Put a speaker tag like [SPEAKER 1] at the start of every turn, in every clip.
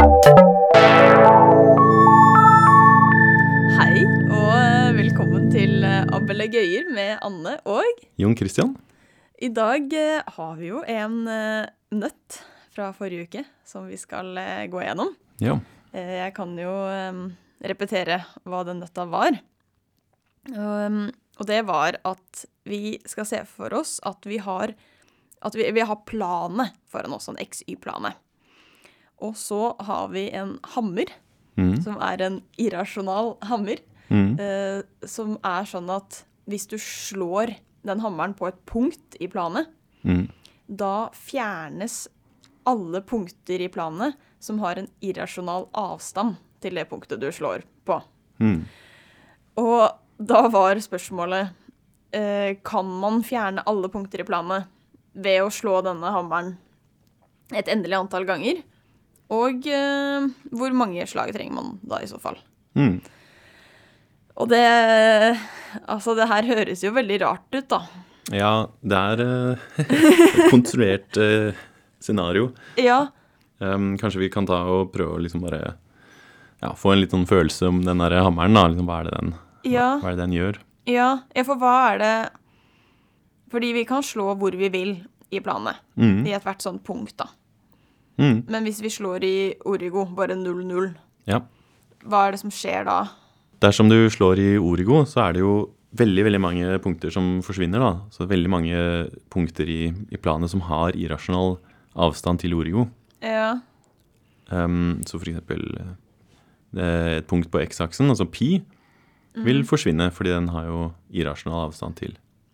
[SPEAKER 1] eh, Og
[SPEAKER 2] Jon Christian.
[SPEAKER 1] i dag eh, har vi jo en eh, nøtt fra forrige uke som vi skal eh, gå gjennom.
[SPEAKER 2] Ja.
[SPEAKER 1] Eh, Jeg kan jo em, repetere hva den nøtta var. Og, em, og det var at vi skal se for oss at vi har, at vi, vi har planet foran oss, en XY-plane. Og så har vi en hammer,
[SPEAKER 2] Mm.
[SPEAKER 1] som er en irrasjonal hammer,
[SPEAKER 2] Mm.
[SPEAKER 1] eh, som er sånn at hvis du slår den hammeren på et punkt i planet,
[SPEAKER 2] Mm.
[SPEAKER 1] da fjernes alle punkter i planet som har en irrasjonal avstand til det punktet du slår på.
[SPEAKER 2] Mm.
[SPEAKER 1] Og da var spørsmålet eh, Kan man fjerne alle punkter i planet ved å slå denne hammeren et endelig antall ganger? Og eh, hvor mange slag trenger man da i så fall?
[SPEAKER 2] Mm.
[SPEAKER 1] Og det Altså, det her høres jo veldig rart ut, da.
[SPEAKER 2] Ja, det er eh, et konstruert eh, scenario.
[SPEAKER 1] Ja,
[SPEAKER 2] Em, kanskje vi kan ta og prøve å liksom bare ja, få en litt sånn følelse om den der hammeren. da, liksom, Hva er det den,
[SPEAKER 1] ja.
[SPEAKER 2] hva er det den gjør?
[SPEAKER 1] Ja, ja, for hva er det Fordi vi kan slå hvor vi vil i planet.
[SPEAKER 2] Mm.
[SPEAKER 1] I ethvert sånt punkt, da.
[SPEAKER 2] Mm.
[SPEAKER 1] Men hvis vi slår i Origo, bare 0-0,
[SPEAKER 2] Ja.
[SPEAKER 1] hva er det som skjer da?
[SPEAKER 2] Dersom du slår i Origo, så er det jo veldig veldig mange punkter som forsvinner. da. Så veldig mange punkter i, i planet som har irrasjonal avstand til Origo.
[SPEAKER 1] Ja.
[SPEAKER 2] Um, så for eksempel eh, et punkt på X-aksen, altså pi,
[SPEAKER 1] Mm.
[SPEAKER 2] vil forsvinne fordi den har jo irrasjonal avstand til,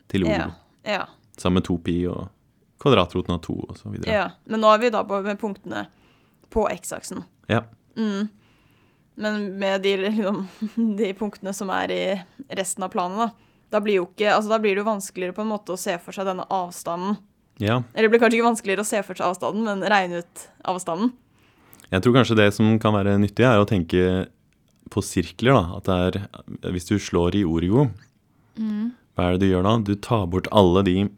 [SPEAKER 2] til
[SPEAKER 1] Ja.
[SPEAKER 2] Origo.
[SPEAKER 1] ja,
[SPEAKER 2] Sammen med to pi og kvadratroten av to og så videre.
[SPEAKER 1] ja. Men nå er vi da på med punktene på X-aksen.
[SPEAKER 2] Ja.
[SPEAKER 1] Mm. Men med de, liksom, de punktene som er i resten av planet, da. Da blir, jo ikke, altså, da blir det jo vanskeligere på en måte å se for seg denne avstanden.
[SPEAKER 2] ja.
[SPEAKER 1] Eller det blir kanskje ikke vanskeligere å se for seg avstanden, men regne ut avstanden.
[SPEAKER 2] Jeg tror kanskje det som kan være nyttig, er å tenke på sirkler. da, at det er, Hvis du slår i Origo,
[SPEAKER 1] Mm.
[SPEAKER 2] hva er det du gjør da? Du tar bort alle de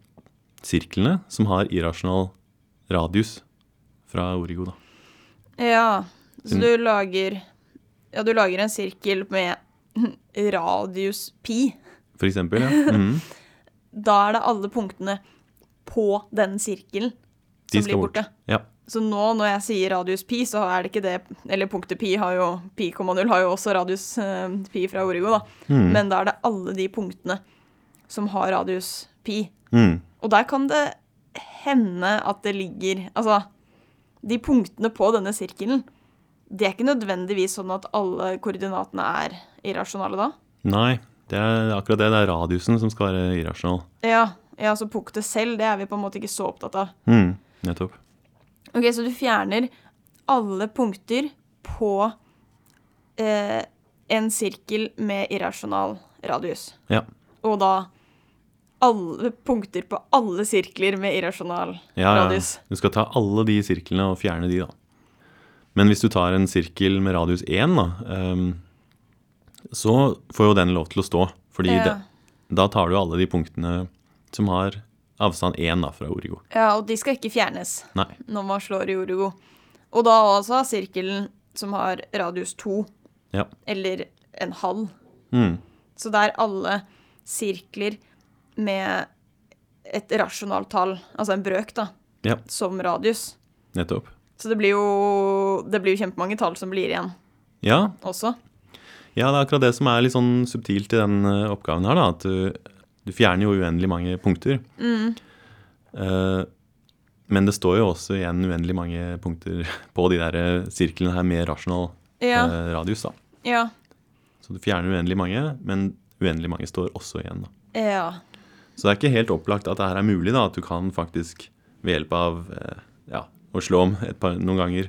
[SPEAKER 2] sirklene som har irrasjonal radius fra Origo. da.
[SPEAKER 1] Ja, så
[SPEAKER 2] Mm.
[SPEAKER 1] du lager Ja, du lager en sirkel med radius pi.
[SPEAKER 2] For eksempel, ja. Mhm.
[SPEAKER 1] Da er det alle punktene på den sirkelen
[SPEAKER 2] De
[SPEAKER 1] som
[SPEAKER 2] skal
[SPEAKER 1] blir borte.
[SPEAKER 2] Ja.
[SPEAKER 1] Så nå når jeg sier radius pi, så er det ikke det Eller punktet pi har jo pi, 0 har jo også radius eh, pi fra Origo, da.
[SPEAKER 2] Mhm.
[SPEAKER 1] Men da er det alle de punktene som har radius pi.
[SPEAKER 2] Mhm.
[SPEAKER 1] Og der kan det hende at det ligger Altså, de punktene på denne sirkelen, det er ikke nødvendigvis sånn at alle koordinatene er irrasjonale da?
[SPEAKER 2] Nei, det er akkurat det. Det er radiusen som skal være irrasjonal.
[SPEAKER 1] Ja, ja altså punktet selv, det er vi på en måte ikke så opptatt av.
[SPEAKER 2] Mhm. Nettopp.
[SPEAKER 1] Ok, så du fjerner alle punkter på eh, en sirkel med irrasjonal radius.
[SPEAKER 2] Ja.
[SPEAKER 1] Og da alle punkter på alle sirkler med irrasjonal
[SPEAKER 2] Ja, ja.
[SPEAKER 1] radius.
[SPEAKER 2] Du skal ta alle de sirklene og fjerne de, da. Men hvis du tar en sirkel med radius 1, da, ehm, så får jo den lov til å stå. Fordi
[SPEAKER 1] Ja.
[SPEAKER 2] det, da tar du alle de punktene som har avstand 1 da, fra Origo.
[SPEAKER 1] Ja, og de skal ikke fjernes.
[SPEAKER 2] Nei.
[SPEAKER 1] når man slår i Origo. Og da altså sirkelen som har radius 2,
[SPEAKER 2] Ja.
[SPEAKER 1] eller en halv.
[SPEAKER 2] Mm.
[SPEAKER 1] Så det er alle sirkler med et rasjonalt tall, altså en brøk, da,
[SPEAKER 2] ja.
[SPEAKER 1] som radius.
[SPEAKER 2] Nettopp.
[SPEAKER 1] Så det blir jo, det blir jo kjempemange tall som blir igjen
[SPEAKER 2] Ja,
[SPEAKER 1] også.
[SPEAKER 2] ja, det er akkurat det som er litt sånn subtilt i den eh, oppgaven her, da. At du, du fjerner jo uendelig mange punkter. Eh, men det står jo også igjen uendelig mange punkter på de der eh, sirklene her med rasjonal
[SPEAKER 1] Ja,
[SPEAKER 2] eh, radius, da.
[SPEAKER 1] ja,
[SPEAKER 2] Så du fjerner uendelig mange, men uendelig mange står også igjen. Da.
[SPEAKER 1] ja.
[SPEAKER 2] Så det er ikke helt opplagt at det her er mulig, da, at du kan faktisk ved hjelp av eh, ja, å slå om et par, noen ganger,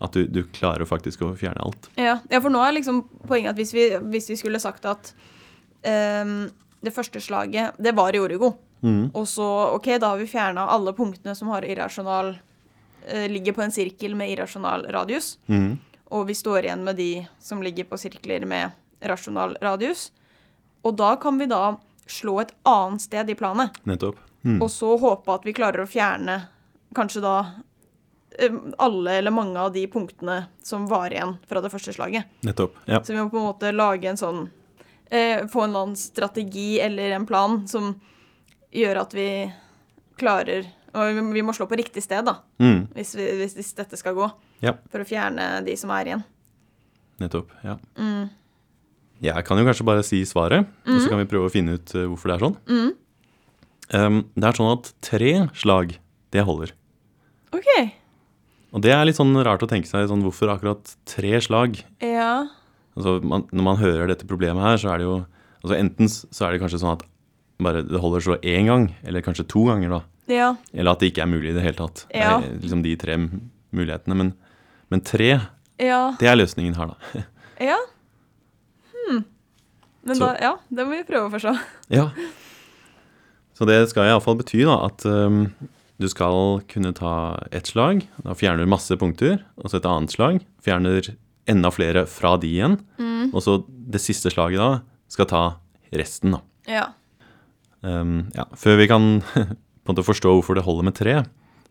[SPEAKER 2] at du, du klarer å faktisk å fjerne alt.
[SPEAKER 1] Ja, ja for nå er liksom poenget at hvis vi, hvis vi skulle sagt at ehm, det første slaget, det var i Origo. Og så, ok, da har vi fjerna alle punktene som har irrasjonal eh, Ligger på en sirkel med irrasjonal radius. Og vi står igjen med de som ligger på sirkler med rasjonal radius. Og da kan vi da slå et annet sted i planet,
[SPEAKER 2] Nettopp. Mm.
[SPEAKER 1] og så håpe at vi klarer å fjerne kanskje da em, alle eller mange av de punktene som var igjen fra det første slaget.
[SPEAKER 2] Nettopp. Ja.
[SPEAKER 1] Så vi må på en måte lage en sånn eh, Få en eller annen strategi eller en plan som gjør at vi klarer Og vi- vi må slå på riktig sted, da,
[SPEAKER 2] Mm,
[SPEAKER 1] hvis, vi, hvis dette skal gå.
[SPEAKER 2] Ja.
[SPEAKER 1] For å fjerne de som er igjen.
[SPEAKER 2] nettopp. Ja. Jeg kan jo kanskje bare si svaret, og så kan vi prøve å finne ut eh, hvorfor det er sånn. Em, det er sånn at tre slag, det holder.
[SPEAKER 1] OK.
[SPEAKER 2] Og det er litt sånn rart å tenke seg sånn, hvorfor akkurat tre slag
[SPEAKER 1] Ja.
[SPEAKER 2] Altså, man, når man hører dette problemet her, så er det jo altså Enten s- så er det kanskje sånn at bare det holder så én gang, eller kanskje to ganger, da.
[SPEAKER 1] Ja.
[SPEAKER 2] Eller at det ikke er mulig i det hele tatt. Det
[SPEAKER 1] Ja.
[SPEAKER 2] er liksom de tre m- mulighetene. Men, men tre,
[SPEAKER 1] Ja.
[SPEAKER 2] det er løsningen her, da.
[SPEAKER 1] ja. Hmm. Men
[SPEAKER 2] Så-
[SPEAKER 1] da Ja, det må vi prøve å forstå.
[SPEAKER 2] Ja. Så det skal iallfall bety da, at øhm, du skal kunne ta ett slag, da fjerner du masse punkter, og så et annet slag, fjerner enda flere fra de igjen, og så det siste slaget da skal ta resten, da.
[SPEAKER 1] Ja.
[SPEAKER 2] Ehm, ja, før vi kan på en måte forstå hvorfor det holder med tre,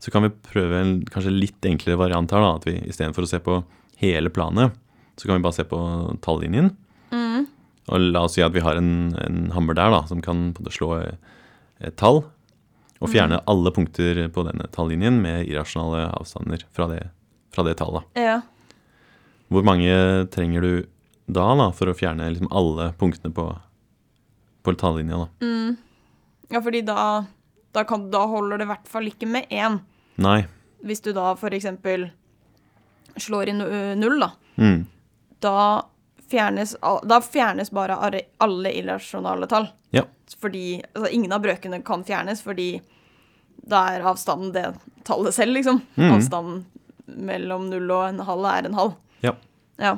[SPEAKER 2] så kan vi prøve en kanskje litt enklere variant her. da, at vi Istedenfor å se på hele planet, så kan vi bare se på tallinjen. Og la oss si at vi har en, en hammer der da, som kan på en måte slå eh, et tall. Og fjerne alle punkter på denne tallinjen med irrasjonale avstander fra det, fra det tallet.
[SPEAKER 1] Ja.
[SPEAKER 2] Hvor mange trenger du da, da for å fjerne liksom alle punktene på, på tallinja? da?
[SPEAKER 1] ja fordi da, da, kan, da holder det i hvert fall ikke med én.
[SPEAKER 2] Nei.
[SPEAKER 1] Hvis du da f.eks. slår inn ø, null, da.
[SPEAKER 2] Mm.
[SPEAKER 1] da fjernes, al- da fjernes bare are- alle irrasjonale tall.
[SPEAKER 2] Ja.
[SPEAKER 1] Fordi, altså Ingen av brøkene kan fjernes, fordi da er avstanden det tallet selv, liksom.
[SPEAKER 2] Mhm.
[SPEAKER 1] Avstanden mellom null og en halv er en halv.
[SPEAKER 2] Ja.
[SPEAKER 1] Ja.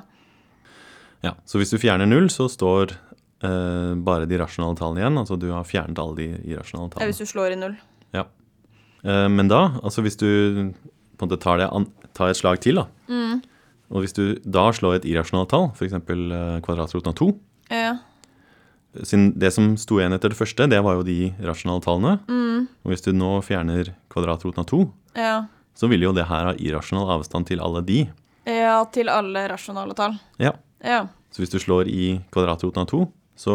[SPEAKER 2] Ja, så hvis du fjerner null, så står eh, bare de rasjonale tallene igjen. Altså du har fjernet alle de irrasjonale
[SPEAKER 1] Ja, Hvis
[SPEAKER 2] tallene.
[SPEAKER 1] du slår i null.
[SPEAKER 2] Ja. Eh, men da, altså hvis du på en måte tar, det an tar et slag til, da.
[SPEAKER 1] Mm.
[SPEAKER 2] Og hvis du da slår et irrasjonalt tall, f.eks. Uh, kvadratroten av to
[SPEAKER 1] Ja.
[SPEAKER 2] siden Det som sto igjen etter det første, det var jo de rasjonale tallene.
[SPEAKER 1] Mm.
[SPEAKER 2] Og hvis du nå fjerner kvadratroten av to,
[SPEAKER 1] Ja.
[SPEAKER 2] så vil jo det her ha irrasjonal avstand til alle de.
[SPEAKER 1] ja, til alle rasjonale tall.
[SPEAKER 2] Ja,
[SPEAKER 1] Ja.
[SPEAKER 2] Så hvis du slår i kvadratroten av to, så,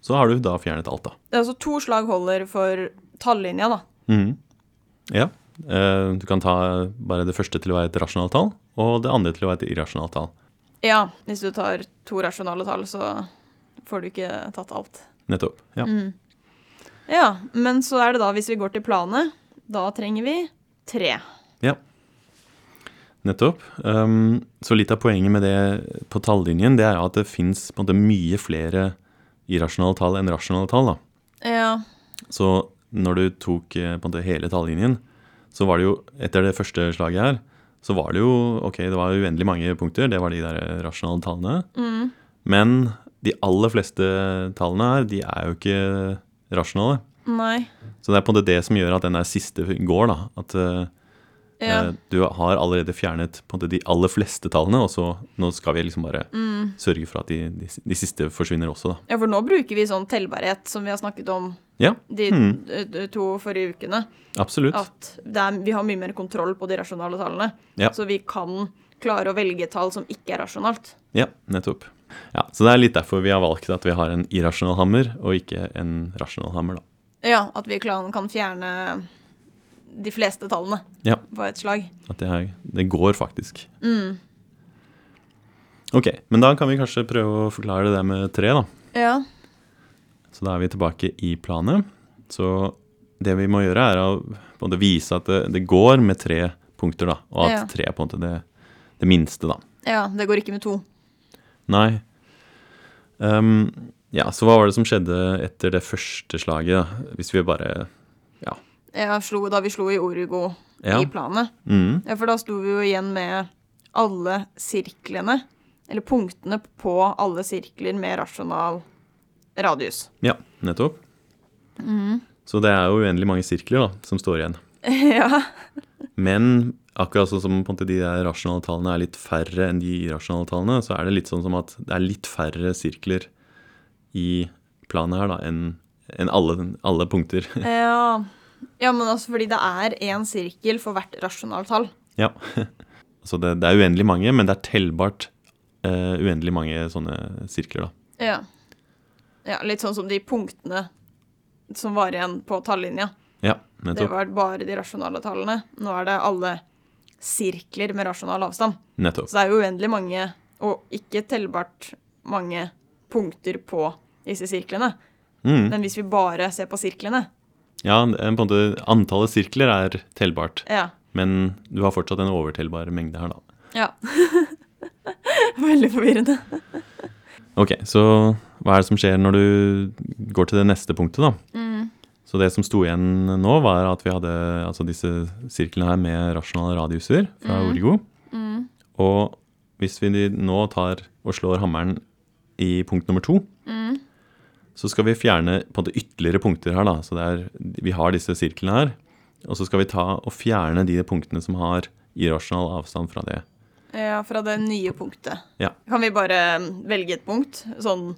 [SPEAKER 2] så har du da fjernet alt, da.
[SPEAKER 1] Det er altså to slag holder for tallinja, da.
[SPEAKER 2] Mhm. Ja. eh, Du kan ta bare det første til å være et rasjonalt tall, og det andre til å være et irrasjonalt tall.
[SPEAKER 1] Ja, hvis du tar to rasjonale tall, så får du ikke tatt alt.
[SPEAKER 2] Nettopp. Ja.
[SPEAKER 1] Ja, men så er det da, hvis vi går til planet, da trenger vi tre.
[SPEAKER 2] ja. Nettopp. Um, så litt av poenget med det på tallinjen, det er at det fins mye flere irrasjonale tall enn rasjonale tall. da.
[SPEAKER 1] Ja.
[SPEAKER 2] Så når du tok eh, på en måte hele tallinjen, så var det jo etter det første slaget her, så var det jo ok, det var uendelig mange punkter, det var de der eh, rasjonale tallene. Men de aller fleste tallene her, de er jo ikke rasjonale.
[SPEAKER 1] Nei.
[SPEAKER 2] Så det er på en måte det som gjør at den der siste går, da. At eh,
[SPEAKER 1] Ja.
[SPEAKER 2] eh, du har allerede fjernet på en måte de aller fleste tallene, og så nå skal vi liksom bare sørge for at de, de, de siste forsvinner også, da.
[SPEAKER 1] ja, for nå bruker vi sånn tellbarhet som vi har snakket om
[SPEAKER 2] Ja,
[SPEAKER 1] de
[SPEAKER 2] Mm.
[SPEAKER 1] d- d- to forrige ukene.
[SPEAKER 2] absolutt.
[SPEAKER 1] At det er, vi har mye mer kontroll på de rasjonale tallene.
[SPEAKER 2] Ja.
[SPEAKER 1] Så vi kan klare å velge tall som ikke er rasjonalt.
[SPEAKER 2] Ja, nettopp. Ja, så det er litt derfor vi har valgt at vi har en irrasjonal hammer og ikke en rasjonal hammer, da.
[SPEAKER 1] Ja, at vi kan, kan fjerne de fleste tallene
[SPEAKER 2] Ja,
[SPEAKER 1] på et slag. Mm.
[SPEAKER 2] at det, er, det går faktisk. Ok, men da kan vi kanskje prøve å forklare det der med tre, da.
[SPEAKER 1] Ja.
[SPEAKER 2] Så da er vi tilbake i planet. Så det vi må gjøre, er å på en måte vise at det, det går med tre punkter, da. Og at
[SPEAKER 1] Ja.
[SPEAKER 2] tre er på en måte det, det minste, da.
[SPEAKER 1] Ja, det går ikke med to.
[SPEAKER 2] Nei. Ehm, ja, så hva var det som skjedde etter det første slaget, da? Hvis vi bare Ja.
[SPEAKER 1] Ja, slo, da vi slo i Orugo
[SPEAKER 2] Ja.
[SPEAKER 1] i planet.
[SPEAKER 2] Mm.
[SPEAKER 1] Ja, for da sto vi jo igjen med alle sirklene, eller punktene på alle sirkler med rasjonal radius.
[SPEAKER 2] Ja, nettopp. Så det er jo uendelig mange sirkler da, som står igjen.
[SPEAKER 1] ja.
[SPEAKER 2] Men akkurat sånn som på en måte de der rasjonale tallene er litt færre enn de irrasjonale tallene, så er det litt sånn som at det er litt færre sirkler i planet her da, enn enn alle, alle punkter.
[SPEAKER 1] ja. Ja, men altså fordi det er én sirkel for hvert rasjonalt tall.
[SPEAKER 2] ja. Så det, det er uendelig mange, men det er tellbart eh, uendelig mange sånne sirkler da.
[SPEAKER 1] Ja. ja. Litt sånn som de punktene som var igjen på tallinja.
[SPEAKER 2] Ja,
[SPEAKER 1] Det
[SPEAKER 2] nettopp.
[SPEAKER 1] var bare de rasjonale tallene. Nå er det alle sirkler med rasjonal avstand.
[SPEAKER 2] nettopp.
[SPEAKER 1] Så det er jo uendelig mange, og ikke tellbart mange, punkter på disse sirklene.
[SPEAKER 2] Mm.
[SPEAKER 1] Men hvis vi bare ser på sirklene,
[SPEAKER 2] Ja, det er på en måte antallet sirkler er tellbart,
[SPEAKER 1] ja.
[SPEAKER 2] men du har fortsatt en overtellbar mengde her, da.
[SPEAKER 1] ja. Veldig forvirrende.
[SPEAKER 2] Ok, så hva er det som skjer når du går til det neste punktet, da?
[SPEAKER 1] Mm.
[SPEAKER 2] Så det som sto igjen nå, var at vi hadde altså disse sirklene her med rasjonale radiuser fra
[SPEAKER 1] Mm.
[SPEAKER 2] Origo. Og hvis vi nå tar og slår hammeren i punkt nummer to,
[SPEAKER 1] Mm.
[SPEAKER 2] så skal vi fjerne på en måte ytterligere punkter her, da. Så det er, vi har disse sirklene her. Og så skal vi ta og fjerne de punktene som har irrasjonal avstand fra det.
[SPEAKER 1] Ja, fra det nye punktet.
[SPEAKER 2] Ja.
[SPEAKER 1] Kan vi bare um, velge et punkt? Sånn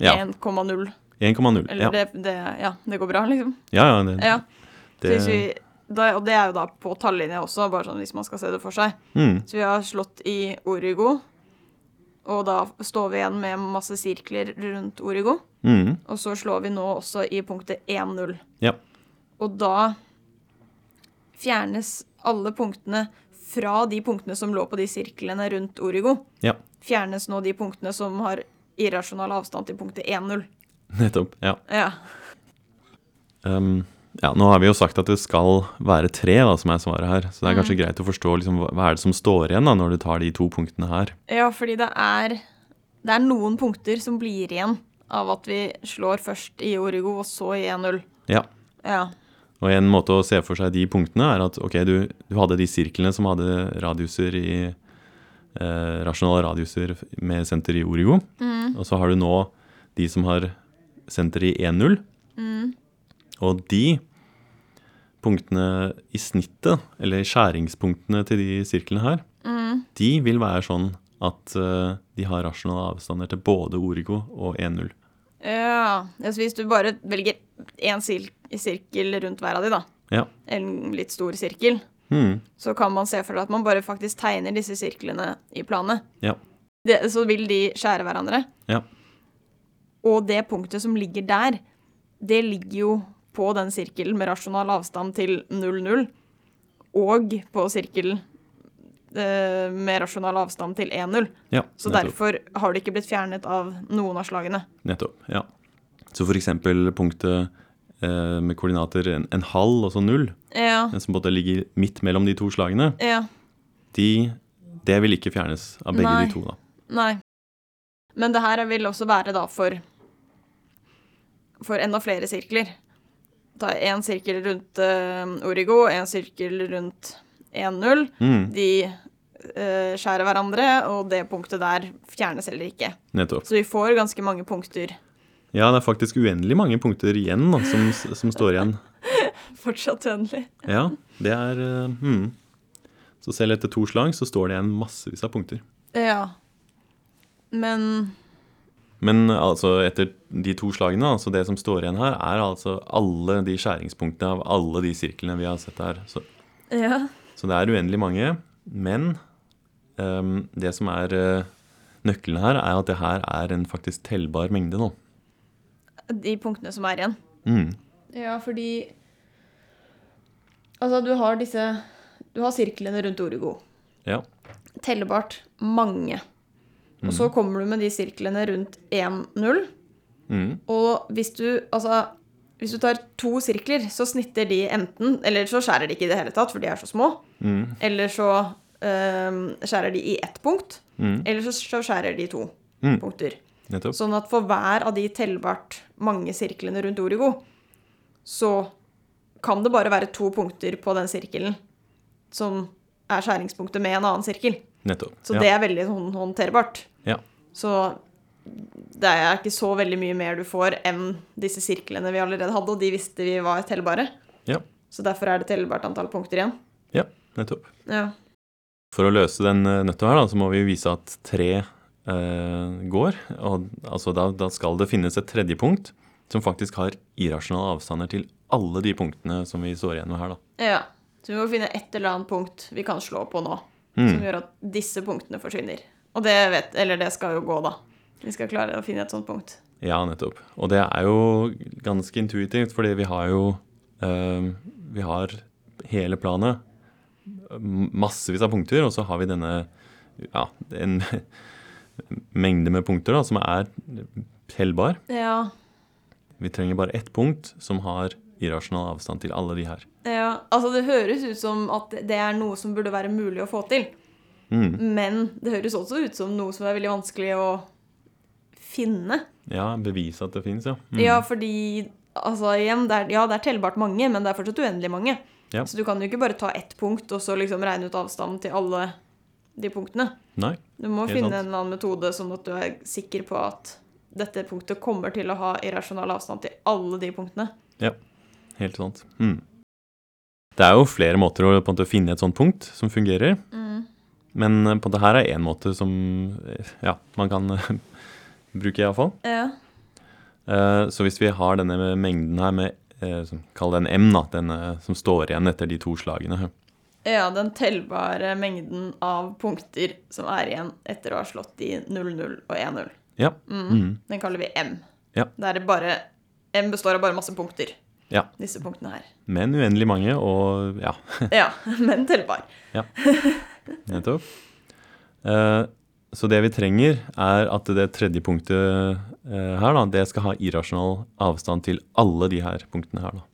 [SPEAKER 2] Ja,
[SPEAKER 1] 1,0?
[SPEAKER 2] 1,0.
[SPEAKER 1] Eller
[SPEAKER 2] Ja.
[SPEAKER 1] det, det, ja, det går bra, liksom?
[SPEAKER 2] ja, ja, det,
[SPEAKER 1] Ja. Så
[SPEAKER 2] det,
[SPEAKER 1] hvis vi, da, og det er jo da på tallinja også, bare sånn hvis man skal se det for seg.
[SPEAKER 2] Mm.
[SPEAKER 1] Så vi har slått i origo, og da står vi igjen med masse sirkler rundt origo.
[SPEAKER 2] mm,
[SPEAKER 1] Og så slår vi nå også i punktet 1-0.
[SPEAKER 2] ja.
[SPEAKER 1] Og da fjernes alle punktene fra de punktene som lå på de sirklene rundt origo.
[SPEAKER 2] Ja,
[SPEAKER 1] Fjernes nå de punktene som har irrasjonal avstand til punktet 1-0.
[SPEAKER 2] nettopp. Ja.
[SPEAKER 1] Ja.
[SPEAKER 2] Ehm, ja, nå har vi jo sagt at det skal være tre da, som er svaret her, så det er kanskje greit å forstå liksom, hva- hva er det som står igjen da, når du tar de to punktene her.
[SPEAKER 1] Ja, fordi det er, det er noen punkter som blir igjen av at vi slår først i Origo og så i 1-0.
[SPEAKER 2] Ja,
[SPEAKER 1] Ja.
[SPEAKER 2] og en måte å se for seg de punktene er at ok, du, du hadde de sirklene som hadde radiuser i eh, rasjonale radiuser med senter i Origo,
[SPEAKER 1] Mm.
[SPEAKER 2] og så har du nå de som har senter i 1-0,
[SPEAKER 1] Mm.
[SPEAKER 2] og de punktene i snittet, eller skjæringspunktene til de sirklene her,
[SPEAKER 1] Mm.
[SPEAKER 2] de vil være sånn at eh, de har rasjonale avstander til både Origo og E 1-0.
[SPEAKER 1] ja. ja så hvis du bare velger én sir sirkel rundt hver av de, da,
[SPEAKER 2] Ja.
[SPEAKER 1] en litt stor sirkel,
[SPEAKER 2] Mm.
[SPEAKER 1] så kan man se for seg at man bare faktisk tegner disse sirklene i planet.
[SPEAKER 2] Ja.
[SPEAKER 1] Det, så vil de skjære hverandre.
[SPEAKER 2] Ja.
[SPEAKER 1] Og det punktet som ligger der, det ligger jo på den sirkelen med rasjonal avstand til 0,0, og på sirkelen eh, med rasjonal avstand til 1,0.
[SPEAKER 2] ja.
[SPEAKER 1] Så
[SPEAKER 2] nettopp.
[SPEAKER 1] derfor har det ikke blitt fjernet av noen av slagene.
[SPEAKER 2] Nettopp, ja. Så for eksempel punktet eh, med koordinater en, en halv og så null,
[SPEAKER 1] Ja,
[SPEAKER 2] den som både ligger midt mellom de to slagene,
[SPEAKER 1] ja,
[SPEAKER 2] de, det vil ikke fjernes av begge
[SPEAKER 1] Nei.
[SPEAKER 2] de to. da.
[SPEAKER 1] nei. Men det her vil også være da for for enda flere sirkler. Ta én sirkel rundt eh, Origo, én sirkel rundt 1,0.
[SPEAKER 2] Mm,
[SPEAKER 1] de eh, skjærer hverandre, og det punktet der fjernes heller ikke.
[SPEAKER 2] nettopp.
[SPEAKER 1] Så vi får ganske mange punkter
[SPEAKER 2] Ja, det er faktisk uendelig mange punkter igjen da, som, som står igjen.
[SPEAKER 1] fortsatt uendelig.
[SPEAKER 2] Ja, det er eh, hmm. Så selv etter to slag så står det igjen massevis av punkter.
[SPEAKER 1] Ja. Men
[SPEAKER 2] Men altså etter de to slagene, altså det som står igjen her, er altså alle de skjæringspunktene av alle de sirklene vi har sett her. Så
[SPEAKER 1] Ja.
[SPEAKER 2] Så det er uendelig mange. Men ehm, det som er eh, nøkkelen her, er at det her er en faktisk tellbar mengde nå.
[SPEAKER 1] De punktene som er igjen.
[SPEAKER 2] Mm.
[SPEAKER 1] Ja, fordi Altså, du har disse Du har sirklene rundt Origo.
[SPEAKER 2] Ja.
[SPEAKER 1] Tellebart mange. Og så kommer du med de sirklene rundt 1-0.
[SPEAKER 2] Mm.
[SPEAKER 1] Og hvis du, altså, hvis du tar to sirkler, så snitter de enten Eller så skjærer de ikke i det hele tatt, for de er så små.
[SPEAKER 2] Mm.
[SPEAKER 1] Eller så øhm, skjærer de i ett punkt. Eller så, så skjærer de i to
[SPEAKER 2] Mm.
[SPEAKER 1] punkter.
[SPEAKER 2] Nettopp.
[SPEAKER 1] Sånn at for hver av de tellbart mange sirklene rundt Origo, så kan det bare være to punkter på den sirkelen som er skjæringspunktet med en annen sirkel.
[SPEAKER 2] Nettopp.
[SPEAKER 1] Så
[SPEAKER 2] ja.
[SPEAKER 1] det er veldig hånd- håndterbart.
[SPEAKER 2] Ja.
[SPEAKER 1] Så det er ikke så veldig mye mer du får enn disse sirklene vi allerede hadde, og de visste vi var tellbare.
[SPEAKER 2] Ja.
[SPEAKER 1] Så derfor er det tellbart antall punkter igjen.
[SPEAKER 2] ja. Nettopp.
[SPEAKER 1] Ja.
[SPEAKER 2] For å løse den eh, nøtta her, da, så må vi vise at tre eh, går. Og altså, da, da skal det finnes et tredje punkt som faktisk har irrasjonale avstander til alle de punktene som vi står igjen med her, da.
[SPEAKER 1] ja. Så vi må finne et eller annet punkt vi kan slå på nå, som gjør at disse punktene forsvinner. Og det vet Eller det skal jo gå, da. Vi skal klare å finne et sånt punkt.
[SPEAKER 2] Ja, nettopp. Og det er jo ganske intuitivt, fordi vi har jo eh, Vi har hele planet, m- massevis av punkter, og så har vi denne Ja, en mengde med punkter da, som er tellbar.
[SPEAKER 1] Ja.
[SPEAKER 2] Vi trenger bare ett punkt som har irrasjonal avstand til alle de her.
[SPEAKER 1] ja. Altså, det høres ut som at det er noe som burde være mulig å få til.
[SPEAKER 2] Mm.
[SPEAKER 1] Men det høres også ut som noe som er veldig vanskelig å finne.
[SPEAKER 2] Ja, bevise at det fins, ja. Mm.
[SPEAKER 1] Ja, fordi altså igjen, det er, ja, det er tellbart mange, men det er fortsatt uendelig mange.
[SPEAKER 2] Ja.
[SPEAKER 1] Så du kan jo ikke bare ta ett punkt og så liksom regne ut avstanden til alle de punktene.
[SPEAKER 2] Nei.
[SPEAKER 1] Du må
[SPEAKER 2] Helt
[SPEAKER 1] finne
[SPEAKER 2] sant.
[SPEAKER 1] en eller annen metode sånn at du er sikker på at dette punktet kommer til å ha irrasjonal avstand til alle de punktene.
[SPEAKER 2] Helt sant. Mm. Det er jo flere måter å på en måte, finne et sånt punkt som fungerer, men eh, på en måte, her er én måte som eh, ja, man kan eh, bruke, iallfall.
[SPEAKER 1] Ja.
[SPEAKER 2] Uh, så hvis vi har denne mengden her med eh, som- Kall den M, da, denne som står igjen etter de to slagene. her.
[SPEAKER 1] ja, den tellbare mengden av punkter som er igjen etter å ha slått de 0-0 og 1-0.
[SPEAKER 2] Ja. Mm.
[SPEAKER 1] Den kaller vi M.
[SPEAKER 2] Ja.
[SPEAKER 1] Der er bare, M består av bare masse punkter.
[SPEAKER 2] ja.
[SPEAKER 1] Disse punktene her.
[SPEAKER 2] Men uendelig mange, og ja,
[SPEAKER 1] Ja, men tellbar.
[SPEAKER 2] nettopp. Eh, så det vi trenger, er at det tredje punktet eh, her, da, det skal ha irrasjonal avstand til alle de her punktene her, da.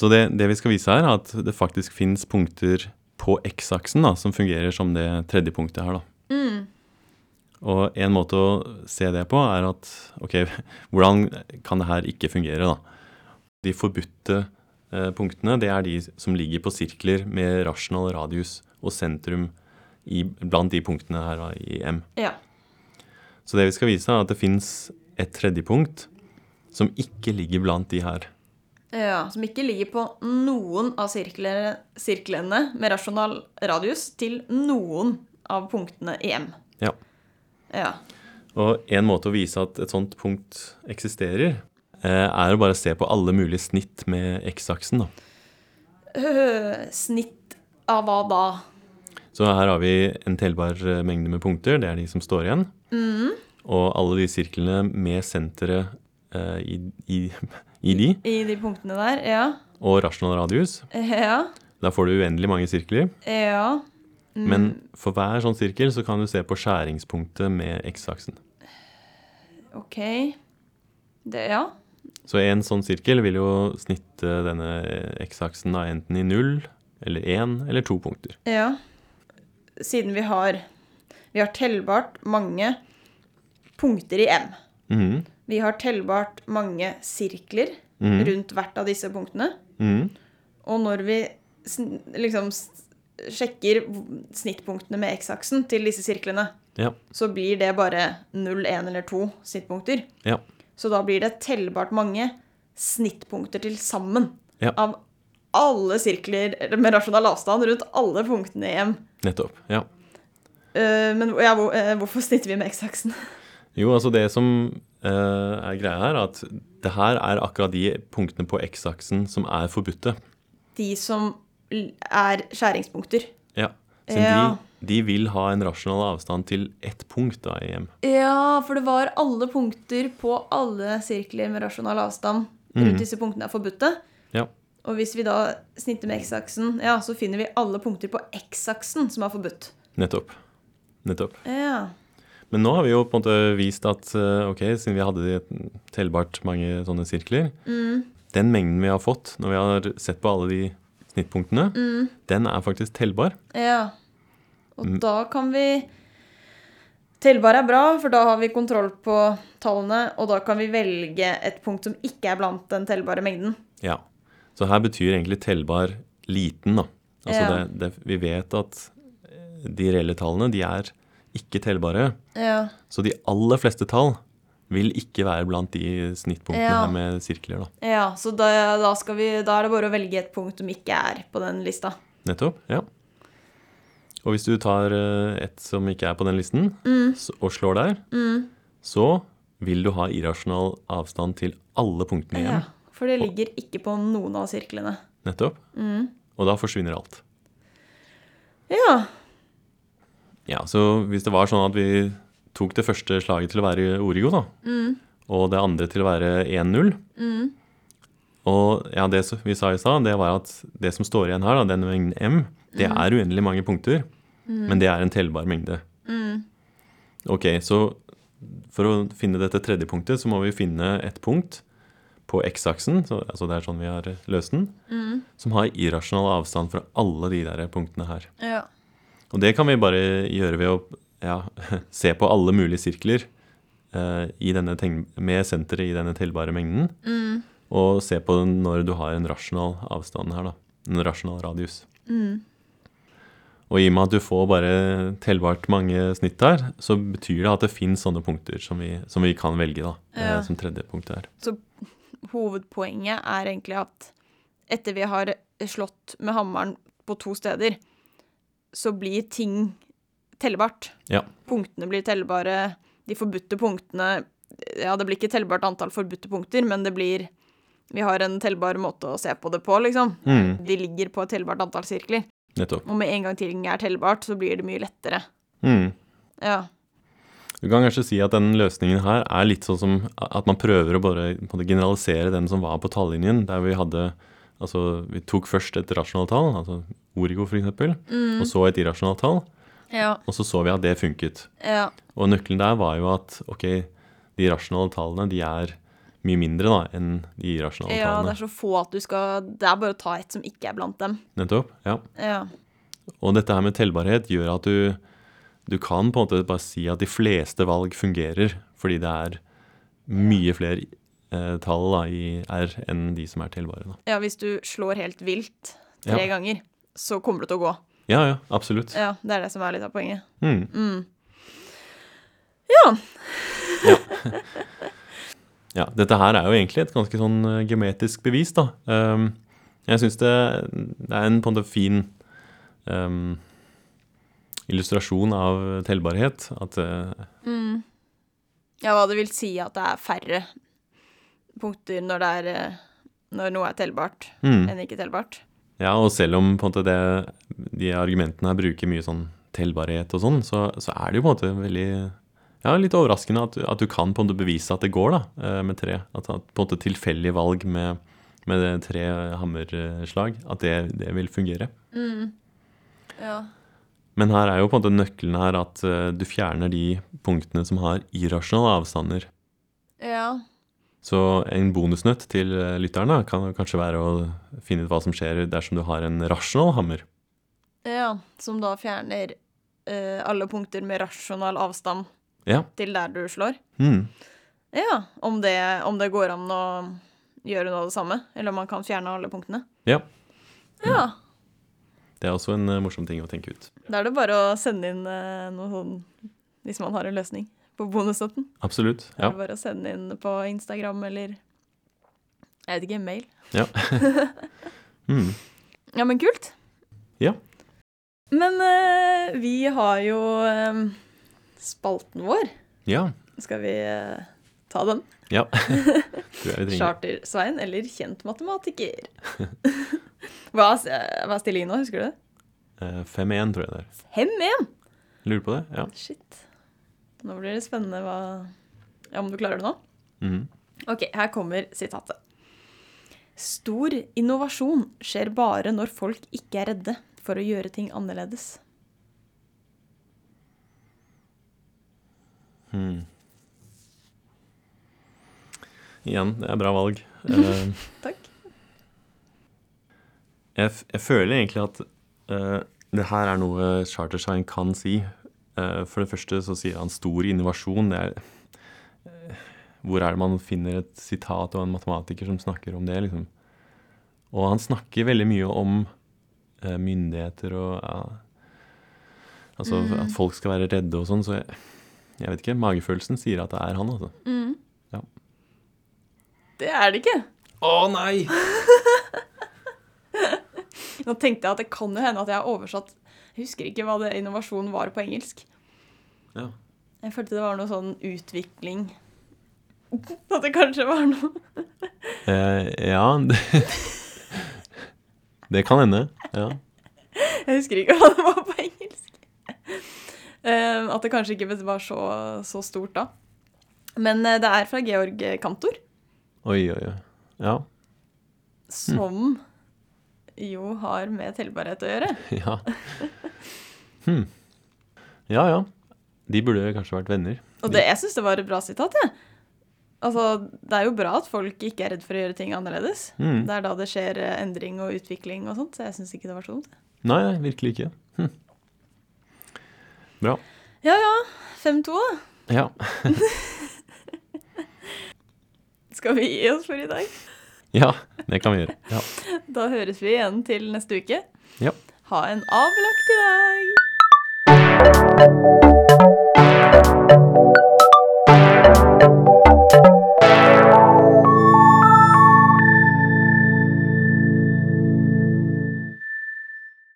[SPEAKER 2] Så det, det vi skal vise her, er at det faktisk fins punkter på X-aksen da, som fungerer som det tredje punktet her. Da.
[SPEAKER 1] Mm.
[SPEAKER 2] Og en måte å se det på er at ok, hvordan kan det her ikke fungere, da? De forbudte eh, punktene, det er de som ligger på sirkler med rasjonal radius og sentrum i, blant de punktene her da, i M.
[SPEAKER 1] Ja.
[SPEAKER 2] Så det vi skal vise, er at det fins et tredje punkt som ikke ligger blant de her.
[SPEAKER 1] ja. Som ikke ligger på noen av sirklene, sirklene med rasjonal radius til noen av punktene i M.
[SPEAKER 2] Ja.
[SPEAKER 1] Ja.
[SPEAKER 2] Og en måte å vise at et sånt punkt eksisterer, eh, er å bare se på alle mulige snitt med X-aksen. da.
[SPEAKER 1] Øh, snitt av hva da?
[SPEAKER 2] Så her har vi en telbar eh, mengde med punkter, det er de som står igjen. Og alle de sirklene med senteret eh, i, i, i de,
[SPEAKER 1] I de punktene der? Ja.
[SPEAKER 2] og rasjonal radius.
[SPEAKER 1] Ja.
[SPEAKER 2] Da får du uendelig mange sirkler.
[SPEAKER 1] Ja.
[SPEAKER 2] Men for hver sånn sirkel så kan du se på skjæringspunktet med X-aksen.
[SPEAKER 1] OK. Det, ja.
[SPEAKER 2] Så en sånn sirkel vil jo snitte denne eh, X-aksen da enten i null, eller én, eller to punkter.
[SPEAKER 1] Ja. Siden vi har Vi har tellbart mange punkter i M.
[SPEAKER 2] Mhm.
[SPEAKER 1] Vi har tellbart mange sirkler rundt hvert av disse punktene.
[SPEAKER 2] Mhm.
[SPEAKER 1] Og når vi sn liksom s- sjekker v- snittpunktene med X-aksen til disse sirklene,
[SPEAKER 2] Ja.
[SPEAKER 1] så blir det bare 0, 1 eller 2 snittpunkter.
[SPEAKER 2] Ja.
[SPEAKER 1] Så da blir det tellbart mange snittpunkter til sammen
[SPEAKER 2] Ja.
[SPEAKER 1] av alle sirkler med rasjonal avstand rundt alle punktene i M.
[SPEAKER 2] Nettopp. Ja.
[SPEAKER 1] Eh, men hvor- ja, hvor, eh, hvorfor snitter vi med X-aksen?
[SPEAKER 2] Jo, altså det som eh, er greia her, er at det her er akkurat de punktene på X-aksen som er forbudte.
[SPEAKER 1] De som l- er skjæringspunkter.
[SPEAKER 2] Ja. Siden
[SPEAKER 1] Ja.
[SPEAKER 2] de, de vil ha en rasjonal avstand til ett punkt da i EM.
[SPEAKER 1] Ja, for det var alle punkter på alle sirkler med rasjonal avstand rundt disse punktene er forbudte.
[SPEAKER 2] Ja.
[SPEAKER 1] Og hvis vi da snitter med X-aksen, ja, så finner vi alle punkter på X-aksen som er forbudt.
[SPEAKER 2] Nettopp. Nettopp.
[SPEAKER 1] Ja.
[SPEAKER 2] Men nå har vi jo på en måte vist at eh, ok, siden vi hadde de tellbart mange sånne sirkler, den mengden vi har fått når vi har sett på alle de snittpunktene, den er faktisk tellbar.
[SPEAKER 1] ja. Og da kan vi Tellbar er bra, for da har vi kontroll på tallene, og da kan vi velge et punkt som ikke er blant den tellbare mengden.
[SPEAKER 2] Ja. Så her betyr egentlig tellbar liten, da. Altså
[SPEAKER 1] Ja.
[SPEAKER 2] det, det, vi vet at eh, de reelle tallene, de er ikke tellbare.
[SPEAKER 1] Ja.
[SPEAKER 2] Så de aller fleste tall vil ikke være blant de snittpunktene
[SPEAKER 1] Ja.
[SPEAKER 2] her med sirkler, da.
[SPEAKER 1] Ja, så da, da, skal vi, da er det bare å velge et punkt som ikke er på den lista.
[SPEAKER 2] Nettopp. Ja. Og hvis du tar eh, et som ikke er på den listen,
[SPEAKER 1] Mm.
[SPEAKER 2] s- og slår der, så vil du ha irrasjonal avstand til alle punktene igjen.
[SPEAKER 1] Ja, for det ligger ikke på noen av sirklene.
[SPEAKER 2] Nettopp.
[SPEAKER 1] Mm.
[SPEAKER 2] Og da forsvinner alt.
[SPEAKER 1] Ja.
[SPEAKER 2] Ja, så hvis det var sånn at vi tok det første slaget til å være origo, da, og det andre til å være 1-0. Og ja, det som vi sa i stad, det var at det som står igjen her, da, den mengden M, det er uendelig mange punkter, men det er en tellbar mengde. Ok, så for å finne dette tredje punktet, så må vi finne et punkt på x-aksen, så- altså det er sånn vi har løst den, som har irrasjonal avstand fra alle de der punktene her.
[SPEAKER 1] Ja.
[SPEAKER 2] Og det kan vi bare gjøre ved å ja, se på alle mulige sirkler eh, i denne tegn med senteret i denne tellbare mengden. Og se på den når du har en rasjonal avstand her, da. En rasjonal radius. Og i og med at du får bare tellbart mange snitt her, så betyr det at det fins sånne punkter som vi, som vi kan velge, da. eh,
[SPEAKER 1] Ja.
[SPEAKER 2] Som tredje punkt her.
[SPEAKER 1] Så hovedpoenget er egentlig at etter vi har slått med hammeren på to steder, så blir ting tellbart.
[SPEAKER 2] Ja.
[SPEAKER 1] Punktene blir tellbare. De forbudte punktene Ja, det blir ikke tellbart antall forbudte punkter, men det blir Vi har en tellbar måte å se på det på, liksom.
[SPEAKER 2] Mm,
[SPEAKER 1] De ligger på et tellbart antall sirkler.
[SPEAKER 2] nettopp.
[SPEAKER 1] Og med en gang ting er tellbart, så blir det mye lettere.
[SPEAKER 2] Mm.
[SPEAKER 1] Ja.
[SPEAKER 2] Du kan kanskje si at den løsningen her er litt sånn som at man prøver å bare på en måte generalisere den som var på tallinjen, der vi hadde Altså, vi tok først et rasjonalt tall, altså origo for eksempel,
[SPEAKER 1] Mm.
[SPEAKER 2] og så et irrasjonalt tall,
[SPEAKER 1] Ja.
[SPEAKER 2] og så så vi at det funket.
[SPEAKER 1] ja.
[SPEAKER 2] Og nøkkelen der var jo at ok, de rasjonale tallene, de er mye mindre da enn de irrasjonale
[SPEAKER 1] Ja, det
[SPEAKER 2] tallene.
[SPEAKER 1] er så få at du skal Det er bare å ta et som ikke er blant dem.
[SPEAKER 2] Nettopp. Ja.
[SPEAKER 1] Ja.
[SPEAKER 2] Og dette her med tellbarhet gjør at du, du kan på en måte bare si at de fleste valg fungerer, fordi det er mye flere eh, tall da, i R enn de som er tellbare. Da.
[SPEAKER 1] Ja, hvis du slår helt vilt tre
[SPEAKER 2] Ja.
[SPEAKER 1] ganger, så kommer det til å gå.
[SPEAKER 2] Ja, ja, absolutt.
[SPEAKER 1] Ja, Det er det som er litt av poenget.
[SPEAKER 2] Mm.
[SPEAKER 1] Ja.
[SPEAKER 2] Ja, dette her er jo egentlig et ganske sånn eh, geometrisk bevis, da. Ehm, jeg syns det, det er en på en måte fin ehm, illustrasjon av tellbarhet. At eh,
[SPEAKER 1] ja, hva det vil si at det er færre punkter når, det er, eh, når noe er tellbart
[SPEAKER 2] mm,
[SPEAKER 1] enn ikke tellbart.
[SPEAKER 2] Ja, og selv om på en måte det, de argumentene her bruker mye sånn tellbarhet og sånn, så, så er det jo på en måte veldig ja, litt overraskende at, du- at du kan på en måte bevise at det går da, eh, med tre. At, at på en måte tilfeldig valg med, med det tre hammerslag, at det, det vil fungere.
[SPEAKER 1] Ja.
[SPEAKER 2] Men her er jo på en måte nøkkelen her at eh, du fjerner de punktene som har irrasjonale avstander.
[SPEAKER 1] ja.
[SPEAKER 2] Så en bonusnøtt til eh, lytteren da, kan jo kanskje være å finne ut hva som skjer dersom du har en rasjonal hammer.
[SPEAKER 1] Ja, som da fjerner eh, alle punkter med rasjonal avstand
[SPEAKER 2] Ja.
[SPEAKER 1] til der du slår.
[SPEAKER 2] Mm.
[SPEAKER 1] Ja, om det, om det går an å gjøre noe av det samme, eller om man kan fjerne alle punktene.
[SPEAKER 2] ja.
[SPEAKER 1] Ja,
[SPEAKER 2] Det er også en eh, morsom ting å tenke ut.
[SPEAKER 1] da er det bare å sende inn eh, noe sånn, hvis man har en løsning på bonusstøtten.
[SPEAKER 2] Absolutt.
[SPEAKER 1] Da
[SPEAKER 2] Ja.
[SPEAKER 1] er det bare å sende inn på Instagram eller, jeg vet ikke, mail.
[SPEAKER 2] Ja. Mm.
[SPEAKER 1] Ja, men kult.
[SPEAKER 2] Ja.
[SPEAKER 1] Men eh, vi har jo eh, spalten vår.
[SPEAKER 2] ja.
[SPEAKER 1] Skal vi eh, ta den?
[SPEAKER 2] ja. Tror jeg vi trenger.
[SPEAKER 1] Charter-Svein eller kjent matematiker? hva, hva er stillingen nå, husker du det?
[SPEAKER 2] Eh, 5-1, tror jeg det er.
[SPEAKER 1] 5-1!
[SPEAKER 2] Lurer på det? Ja.
[SPEAKER 1] Shit. Nå blir det spennende hva ja, Om du klarer det nå?
[SPEAKER 2] Mm.
[SPEAKER 1] Ok, her kommer sitatet. Stor innovasjon skjer bare når folk ikke er redde for å gjøre ting annerledes.
[SPEAKER 2] Mm. Igjen, det er bra valg. Eh,
[SPEAKER 1] Takk.
[SPEAKER 2] Jeg, f jeg føler egentlig at eh, det her er noe Chartershine kan si. Eh, for det første så sier han stor innovasjon. Det er, eh, hvor er det man finner et sitat og en matematiker som snakker om det? liksom? Og han snakker veldig mye om eh, myndigheter og ja, Altså at folk skal være redde og sånn, så jeg, jeg vet ikke. Magefølelsen sier at det er han, altså.
[SPEAKER 1] Det er det ikke.
[SPEAKER 2] Å nei!
[SPEAKER 1] Nå tenkte jeg at det kan jo hende at jeg har oversatt Jeg husker ikke hva det innovasjon var på engelsk.
[SPEAKER 2] Ja.
[SPEAKER 1] Jeg følte det var noe sånn utvikling. At det kanskje var noe
[SPEAKER 2] Eh, ja det, det kan hende. Ja.
[SPEAKER 1] Jeg husker ikke hva det var på engelsk. Eh, at det kanskje ikke var så, så stort da. Men eh, det er fra Georg Kantor,
[SPEAKER 2] Oi, oi, oi. Ja.
[SPEAKER 1] som jo har med tellbarhet å gjøre.
[SPEAKER 2] Ja. Hm. Ja, ja. De burde kanskje vært venner.
[SPEAKER 1] Og det, jeg syns det var et bra sitat, jeg. Altså, det er jo bra at folk ikke er redd for å gjøre ting annerledes.
[SPEAKER 2] Mm.
[SPEAKER 1] Det er da det skjer eh, endring og utvikling og sånt, så jeg syns ikke det var så dumt.
[SPEAKER 2] Nei, nei, virkelig ikke. Hm. Bra.
[SPEAKER 1] Ja ja, 5-2, da.
[SPEAKER 2] Ja.
[SPEAKER 1] Skal vi gi oss for i dag?
[SPEAKER 2] ja, det kan vi gjøre. Ja.
[SPEAKER 1] Da høres vi igjen til neste uke.
[SPEAKER 2] Ja.
[SPEAKER 1] Ha en avlagt dag!